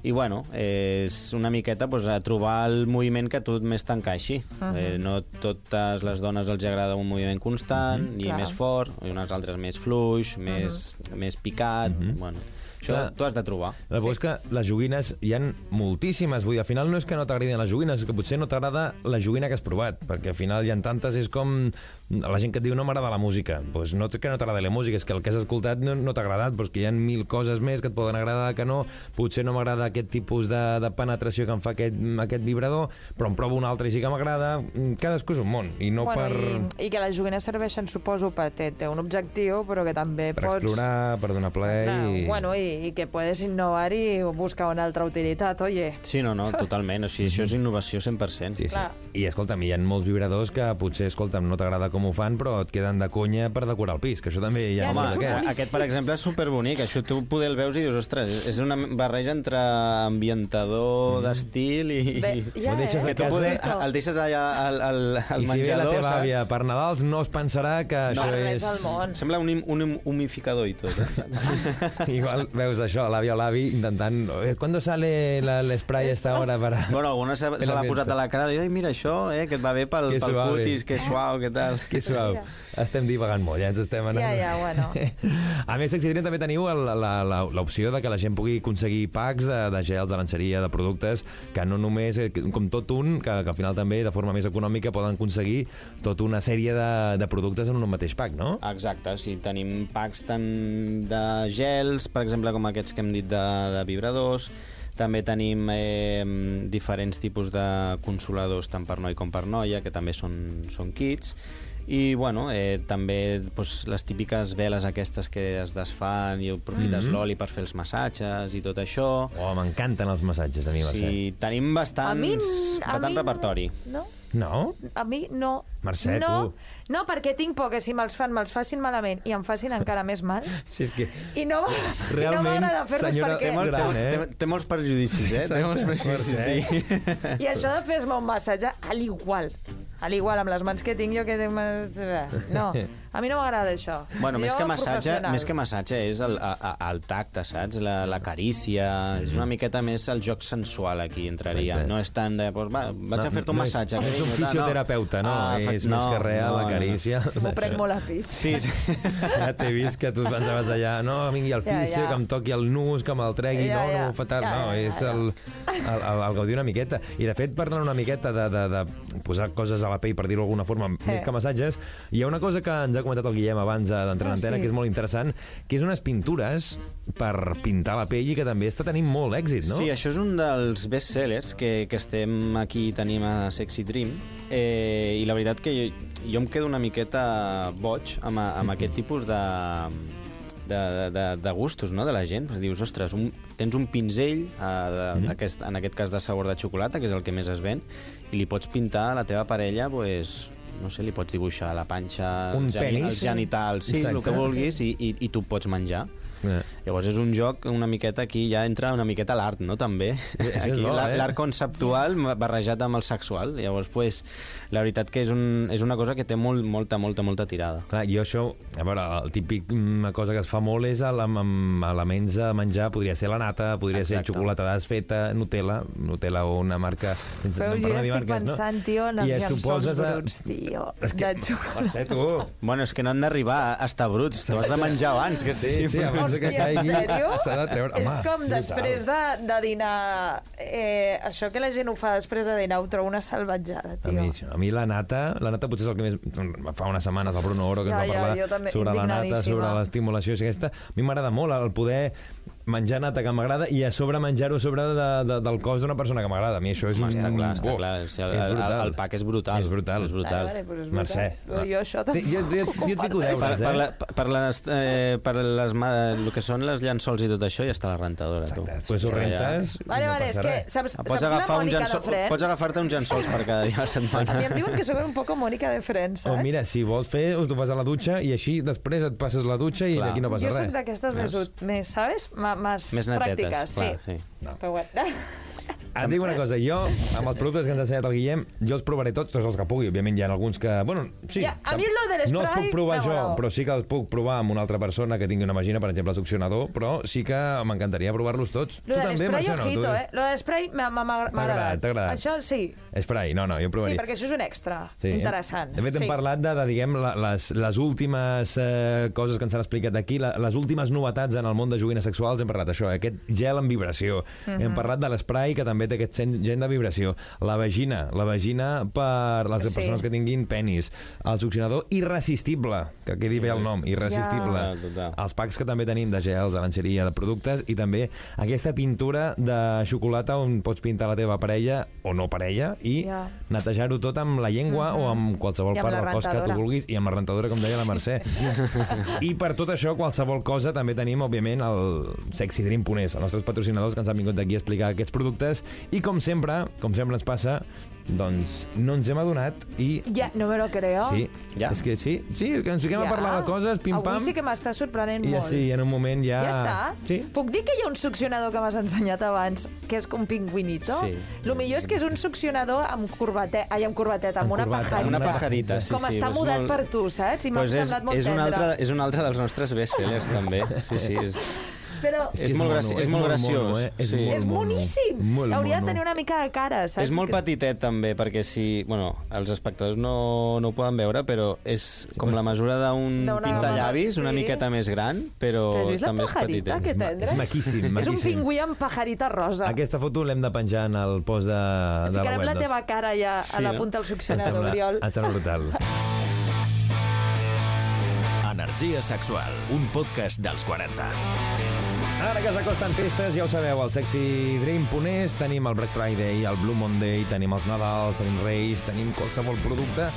Speaker 5: i bueno, eh, és una miqueta pues, a trobar el moviment que a tu més t'encaixi. Uh -huh. eh, no totes les dones els agrada un moviment constant uh -huh, i
Speaker 4: clar.
Speaker 5: més fort, i unes altres més fluix, uh -huh. més, més picat, uh -huh. bueno,
Speaker 3: Clar.
Speaker 5: això tu has de trobar.
Speaker 3: La sí. és que les joguines hi han moltíssimes. Vull dir, al final no és que no t'agradin les joguines, és que potser no t'agrada la joguina que has provat, perquè al final hi ha tantes, és com la gent que et diu no m'agrada la música. Pues no és que no t'agrada la música, és que el que has escoltat no, no t'ha agradat, però és que hi ha mil coses més que et poden agradar que no. Potser no m'agrada aquest tipus de, de penetració que em fa aquest, aquest vibrador, però en provo un altre i sí que m'agrada. Cadascú és un món, i no
Speaker 4: bueno,
Speaker 3: per...
Speaker 4: i, I que les joguines serveixen, suposo, per té, té un objectiu, però que també
Speaker 3: Per
Speaker 4: pots...
Speaker 3: explorar, per donar plaer...
Speaker 4: Claro,
Speaker 3: i...
Speaker 4: Bueno, i, i que puedes innovar i buscar una altra utilitat, oye.
Speaker 5: Sí, no, no, totalment, o sigui, això és innovació 100%.
Speaker 3: Sí, sí.
Speaker 4: Clar.
Speaker 3: I escolta'm, hi ha molts vibradors que potser, escolta'm, no t'agrada com com ho fan, però et queden de conya per decorar el pis, que això també hi
Speaker 4: Ja,
Speaker 3: ha...
Speaker 4: és que
Speaker 3: molts
Speaker 5: Home,
Speaker 4: són
Speaker 3: d'aquests.
Speaker 4: boníssims.
Speaker 5: aquest, per exemple, és superbonic. Això tu poder el veus i dius, ostres, és una barreja entre ambientador d'estil i...
Speaker 4: Mm. Bé, ja,
Speaker 3: Ho
Speaker 4: eh?
Speaker 3: deixes a
Speaker 5: que tu
Speaker 3: casa.
Speaker 5: poder, el deixes allà al, al, al
Speaker 3: I si ve la
Speaker 5: menjador,
Speaker 3: teva àvia
Speaker 5: saps?
Speaker 3: per Nadals, no es pensarà que
Speaker 4: No.
Speaker 3: això
Speaker 4: Per res
Speaker 3: és...
Speaker 4: al món.
Speaker 5: Sembla un, im- un im- humificador i tot. Eh?
Speaker 3: Igual veus això, l'àvia o l'avi intentant... Eh, ¿Cuándo sale la- l'espray a esta hora? Para...
Speaker 5: bueno, alguna se, se l'ha posat a la cara i diu, mira això, eh, que et va bé pel,
Speaker 3: Que
Speaker 5: pel
Speaker 3: suave.
Speaker 5: cutis, que suau, que tal.
Speaker 3: Que suau.
Speaker 4: Mira.
Speaker 3: Estem divagant molt, ja ens estem anant...
Speaker 4: Ja, ja, bueno.
Speaker 3: A més, Sexy Dream també teniu el- la- la- l'opció de que la gent pugui aconseguir packs de, de gels, de lenceria, de productes, que no només, eh, que- com tot un, que, que al final també, de forma més econòmica, poden aconseguir tota una sèrie de, de productes en un mateix pack, no?
Speaker 5: Exacte, sí, tenim packs tant de gels, per exemple, com aquests que hem dit de, de vibradors, també tenim eh, diferents tipus de consoladors, tant per noi com per noia, que també són, són kits, i bueno, eh, també doncs, les típiques veles aquestes que es desfan i aprofites mm -hmm. l'oli per fer els massatges i tot això.
Speaker 3: Oh, m'encanten els massatges, a mi, sí.
Speaker 5: Sí, tenim bastants,
Speaker 4: A mi... n- A
Speaker 5: bastant
Speaker 4: mi, n-
Speaker 5: repertori.
Speaker 4: No?
Speaker 3: No?
Speaker 4: A mi no.
Speaker 3: Mercè,
Speaker 4: no,
Speaker 3: tu.
Speaker 4: no, perquè tinc por que si me'ls fan me'ls facin malament i em facin encara més mal.
Speaker 3: Sí, és que...
Speaker 4: I no,
Speaker 3: Realment,
Speaker 4: Realment, no m'agrada fer-los
Speaker 3: senyora,
Speaker 4: perquè...
Speaker 3: té molt- Gran, eh?
Speaker 5: té, té molts prejudicis, eh? Té molts prejudicis, eh?
Speaker 3: Mercè.
Speaker 5: sí.
Speaker 3: eh?
Speaker 4: I això de fer-me un massatge, a l'igual. A l'igual, amb les mans que tinc jo que... tinc mans- eh, No, a mi no m'agrada això.
Speaker 5: Bueno,
Speaker 4: jo,
Speaker 5: més que, massatge,
Speaker 4: professional.
Speaker 5: més que massatge és el, a, a, el tacte, saps? La, la carícia... És
Speaker 3: Mm.
Speaker 5: una miqueta més el joc sensual aquí entraria.
Speaker 3: Exacte.
Speaker 5: No és tant de... Doncs, va, vaig
Speaker 3: No,
Speaker 5: a fer-te un
Speaker 3: no és-
Speaker 5: massatge.
Speaker 3: no és un
Speaker 5: carinyo, tal, Ah,
Speaker 3: fisioterapeuta, no, és
Speaker 5: fa-
Speaker 3: més que res la carícia.
Speaker 4: M'ho prenc molt a pit.
Speaker 5: Sí, sí.
Speaker 3: Ja t'he vist que tu pensaves allà, no, vingui el
Speaker 4: Ja,
Speaker 3: fisio,
Speaker 4: ja.
Speaker 3: que em toqui el nus, que me'l tregui,
Speaker 4: Ja,
Speaker 3: no,
Speaker 4: ja.
Speaker 3: no, fatal,
Speaker 4: Ja,
Speaker 3: no,
Speaker 4: ja,
Speaker 3: és
Speaker 4: ja.
Speaker 3: el, el, el, el gaudir una miqueta. I, de fet, parlant una miqueta de, de, de posar coses a la pell, per dir-ho d'alguna forma, eh. més que massatges, hi ha una cosa que ens ha comentat el Guillem abans eh, d'entrar
Speaker 4: Ah,
Speaker 3: en antena,
Speaker 4: sí.
Speaker 3: que és molt interessant, que és unes pintures per pintar la pell i que també està tenint molt èxit, no?
Speaker 5: Sí, això és un dels best-sellers que, que estem aquí i tenim a Sexy Dream eh, i la veritat que jo, jo em quedo una miqueta boig amb, a- amb aquest tipus de, de, de, de gustos no? de la gent. Perquè Dius, ostres, un, tens un pinzell, eh, de,
Speaker 3: Mm-hmm.
Speaker 5: aquest, en aquest cas de sabor de xocolata, que és el que més es ven, i li pots pintar a la teva parella, pues, no sé, li pots dibuixar la panxa,
Speaker 3: Un
Speaker 5: els geni-
Speaker 3: penis.
Speaker 5: els genitals, sí, el
Speaker 3: Exacte.
Speaker 5: que vulguis, i, i, i tu pots menjar.
Speaker 3: Eh.
Speaker 5: Llavors és un joc una miqueta aquí, ja entra una miqueta l'art, no?, també.
Speaker 3: és
Speaker 5: Aquí
Speaker 3: bo,
Speaker 5: l'ar-
Speaker 3: eh?
Speaker 5: l'art conceptual barrejat amb el sexual. Llavors, pues, la veritat que és, un, és una cosa que té molt, molta, molta, molta tirada.
Speaker 3: Clar, jo això, a veure, el típic una cosa que es fa molt és el- amb, amb elements a menjar, podria ser la nata, podria Exacte.
Speaker 5: Exacte.
Speaker 3: ser xocolata desfeta, Nutella, Nutella o una marca... sense-
Speaker 4: Feu,
Speaker 3: em
Speaker 4: jo
Speaker 3: parlo
Speaker 4: ja
Speaker 3: de
Speaker 4: estic
Speaker 3: marques,
Speaker 4: pensant, tio, en els
Speaker 3: I es- tu
Speaker 4: llençols
Speaker 3: poses
Speaker 4: bruts, tio.
Speaker 3: És que-
Speaker 4: De xocolata.
Speaker 3: Mercè, tu!
Speaker 5: Bueno, és que no han d'arribar a estar bruts, t'ho has de menjar abans. Que
Speaker 3: Sí, sí, abans de que
Speaker 4: Hòstia, en
Speaker 3: caigui
Speaker 4: sèrio?
Speaker 3: s'ha de treure...
Speaker 4: és
Speaker 3: Home,
Speaker 4: com
Speaker 3: brutal.
Speaker 4: després de, de dinar... Eh, això que la gent ho fa després de dinar ho trobo una salvatjada,
Speaker 3: A
Speaker 4: tio.
Speaker 3: mi, a mi la nata, la nata potser és el que més... Fa unes setmanes el Bruno Oro que
Speaker 4: Ja, ja,
Speaker 3: ens va parlar
Speaker 4: jo també,
Speaker 3: sobre la nata,
Speaker 4: indignadíssima.
Speaker 3: sobre l'estimulació i aquesta. A mi m'agrada molt el poder menjar nata que m'agrada i a sobre menjar-ho a sobre de, de, del cos d'una persona que m'agrada. A mi això és... un-
Speaker 5: Està clar, està
Speaker 3: Mm, Buah,
Speaker 5: clar. O sigui, el,
Speaker 3: és
Speaker 5: el,
Speaker 3: brutal.
Speaker 5: el pack és brutal.
Speaker 3: És brutal.
Speaker 5: És
Speaker 4: Ah,
Speaker 5: brutal.
Speaker 4: vale, però és
Speaker 3: Mercè.
Speaker 4: brutal. Jo això
Speaker 3: Jo,
Speaker 4: tampoc...
Speaker 3: jo, jo, jo et dic ho deures,
Speaker 5: Per, per, la,
Speaker 3: eh?
Speaker 5: per, les, eh, per les, ma- el que són les llençols i tot això, ja està la rentadora, tu.
Speaker 3: Després ho
Speaker 5: Allà.
Speaker 3: rentes... i
Speaker 4: Vale,
Speaker 3: no
Speaker 4: vale, és
Speaker 3: passa
Speaker 4: que
Speaker 3: res.
Speaker 4: saps,
Speaker 5: Ah, Pots
Speaker 4: saps la
Speaker 5: agafar un
Speaker 4: Mònica
Speaker 5: llençol,
Speaker 4: de Friends?
Speaker 5: pots agafar-te uns llençols per cada dia de la setmana.
Speaker 4: A mi em diuen que sóc un poc Mònica de Friends,
Speaker 3: O
Speaker 4: saps?
Speaker 3: Oh, mira, si vols fer, ho- tu vas a la dutxa i així després et passes la dutxa i
Speaker 5: Clar.
Speaker 3: d'aquí no passa
Speaker 4: jo
Speaker 3: res.
Speaker 4: soc d'aquestes més, ut- més, sabes? Ma- Més,
Speaker 5: Més netetes,
Speaker 4: pràctiques,
Speaker 5: clar,
Speaker 4: sí.
Speaker 5: sí.
Speaker 3: No.
Speaker 4: Però bueno.
Speaker 3: Et dic una cosa, jo, amb els productes que ens ha ensenyat el Guillem, jo els provaré tots, tots els que pugui. Òbviament hi ha alguns que... Bueno, sí,
Speaker 4: Ja, a mi lo de
Speaker 3: No els
Speaker 4: l'esprai,
Speaker 3: puc provar
Speaker 4: no,
Speaker 3: jo,
Speaker 4: no.
Speaker 3: però sí que els puc provar amb una altra persona que tingui una màgina, per exemple, succionador, però sí que m'encantaria provar-los tots.
Speaker 4: Lo
Speaker 3: tu
Speaker 4: del
Speaker 3: també,
Speaker 4: spray,
Speaker 3: Mercè, no?
Speaker 4: ojito,
Speaker 3: Tu-
Speaker 4: eh? Lo del spray m'ha m'ha- m'ha
Speaker 3: T'ha agradat,
Speaker 4: agradat.
Speaker 3: t'ha agradat.
Speaker 4: Això sí.
Speaker 3: Spray, no, no, jo
Speaker 4: Sí,
Speaker 3: provaré.
Speaker 4: perquè això és un extra.
Speaker 3: Sí, hem-
Speaker 4: Interessant.
Speaker 3: De fet, hem
Speaker 4: sí.
Speaker 3: parlat de, de diguem, la- les, les últimes eh, coses que ens han explicat aquí, la, les últimes novetats en el món de joguines sexuals, hem parlat d'això, eh, aquest gel amb vibració.
Speaker 4: Mhm.
Speaker 3: Hem parlat de l'esprai, que també té aquest gen, gen de vibració. La vagina, la vagina per les
Speaker 4: Sí.
Speaker 3: persones que tinguin penis. El succionador irresistible, que quedi bé el nom, irresistible.
Speaker 5: Ja. Total, total.
Speaker 3: Els packs que també tenim de gels, de lenceria, de productes, i també aquesta pintura de xocolata on pots pintar la teva parella, o no parella, i
Speaker 4: Ja.
Speaker 3: netejar-ho tot amb la llengua o Mhm. amb qualsevol
Speaker 4: I amb
Speaker 3: part
Speaker 4: la
Speaker 3: del cos que tu
Speaker 4: rentadora.
Speaker 3: vulguis i amb la rentadora, com deia la Mercè. I per tot això, qualsevol cosa, també tenim, òbdiment, el Sexy Dream Punés, els nostres patrocinadors que ens han vingut d'aquí a explicar aquests productes I com sempre, com sempre ens passa, doncs no ens hem adonat i...
Speaker 4: Ja, no me lo creo.
Speaker 3: Sí,
Speaker 5: Ja.
Speaker 3: és que sí, sí, que ens fiquem a parlar de coses, pim-pam,
Speaker 4: Avui sí que m'està sorprenent
Speaker 3: i ja
Speaker 4: molt.
Speaker 3: sí, i en un moment ja...
Speaker 4: Ja està?
Speaker 3: Sí.
Speaker 4: Puc dir que hi ha un succionador que m'has ensenyat abans, que és un pingüinito?
Speaker 5: Sí.
Speaker 4: Lo millor és que és un succionador amb corbateta, ai, amb corbateta, amb,
Speaker 3: Amb
Speaker 4: una
Speaker 3: corbata,
Speaker 4: pajarita.
Speaker 5: Una pajarita, sí,
Speaker 4: Com
Speaker 5: sí.
Speaker 4: està
Speaker 5: és
Speaker 4: mudat
Speaker 5: molt-
Speaker 4: per tu, saps? I m'ha
Speaker 5: Doncs és,
Speaker 4: semblat molt
Speaker 5: és un
Speaker 4: tendre.
Speaker 5: altre, és un altre dels nostres best-sellers, també. Sí, sí, és...
Speaker 4: Però
Speaker 5: És molt graci- és molt graciós,
Speaker 3: Mono, eh? és
Speaker 5: sí.
Speaker 3: molt
Speaker 4: és
Speaker 3: mono.
Speaker 4: boníssim.
Speaker 3: Molt
Speaker 4: Hauria
Speaker 3: mono.
Speaker 4: de tenir una mica de cara, saps?
Speaker 5: És molt
Speaker 4: Que-
Speaker 5: petitet, també, perquè si... Bueno, els espectadors no, no ho poden veure, però és com la mesura d'un
Speaker 4: D'una
Speaker 5: pintallavis, una
Speaker 4: sí.
Speaker 5: miqueta més gran, però
Speaker 4: Però has vist la
Speaker 5: també és
Speaker 4: pajarita,
Speaker 5: petitet.
Speaker 4: que tendre?
Speaker 3: eh? és maquíssim,
Speaker 4: És un
Speaker 3: maquíssim.
Speaker 4: pingüí amb pajarita rosa.
Speaker 3: Aquesta foto l'hem de penjar en el post de, de la
Speaker 4: Ficarem
Speaker 3: web.
Speaker 4: la
Speaker 3: doncs.
Speaker 4: teva cara ja
Speaker 5: Sí,
Speaker 4: a la
Speaker 5: no?
Speaker 4: punta del
Speaker 3: Em
Speaker 4: succionador,
Speaker 3: sembla,
Speaker 4: Oriol.
Speaker 3: em sembla brutal.
Speaker 2: Energia sexual, un podcast dels 40.
Speaker 3: Ara que s'acosten festes, ja ho sabeu, el Sexy Dream Ponés, tenim el Black Friday, el Blue Monday, tenim els Nadals, tenim Reis, tenim qualsevol producte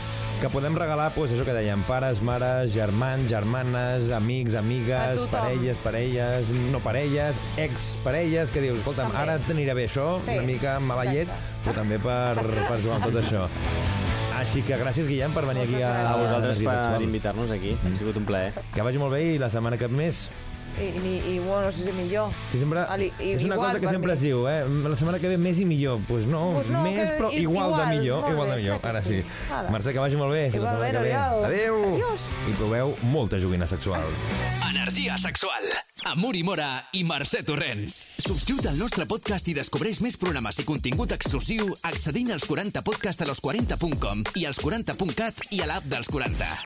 Speaker 3: que podem regalar, doncs, això que dèiem, pares, mares, germans, germanes, amics,
Speaker 4: A
Speaker 3: amigues,
Speaker 4: tothom.
Speaker 3: parelles, parelles, no parelles, exparelles, que dius, escolta'm,
Speaker 4: També.
Speaker 3: ara t'anirà bé això,
Speaker 4: Sí.
Speaker 3: una mica amb mala llet, però també per, per jugar amb tot això. Així que gràcies, Guillem, per venir aquí
Speaker 4: Moltes
Speaker 3: a,
Speaker 4: gràcies.
Speaker 5: A vosaltres
Speaker 3: Energia
Speaker 5: per
Speaker 3: Sexual.
Speaker 5: invitar-nos aquí. Ha sigut un plaer.
Speaker 3: Que vagi molt bé i la setmana que més
Speaker 4: I, i, i bueno, no sé si millor.
Speaker 3: Sí, sempre,
Speaker 4: Ali- i-
Speaker 3: és una
Speaker 4: igual
Speaker 3: cosa que
Speaker 4: per
Speaker 3: sempre
Speaker 4: mi.
Speaker 3: es diu, eh? La setmana que ve més i millor. Doncs pues no,
Speaker 4: Pues no,
Speaker 3: més
Speaker 4: que
Speaker 3: però
Speaker 4: i-
Speaker 3: igual, de
Speaker 4: igual,
Speaker 3: millor.
Speaker 4: molt
Speaker 3: Igual de
Speaker 4: bé,
Speaker 3: millor,
Speaker 4: clar
Speaker 3: ara
Speaker 4: que
Speaker 3: sí.
Speaker 4: sí. Ala.
Speaker 3: Mercè, que vagi molt bé. Fins la
Speaker 4: Igualment,
Speaker 3: setmana que ve.
Speaker 4: Oriol.
Speaker 3: Adéu.
Speaker 4: Adiós.
Speaker 3: I proveu moltes joguines sexuals.
Speaker 2: Energia sexual. Amor i Mora i Mercè Torrents. Subscriu't al nostre podcast i descobreix més programes i contingut exclusiu accedint als 40podcastalos40.com i als 40.cat i a l'app dels 40.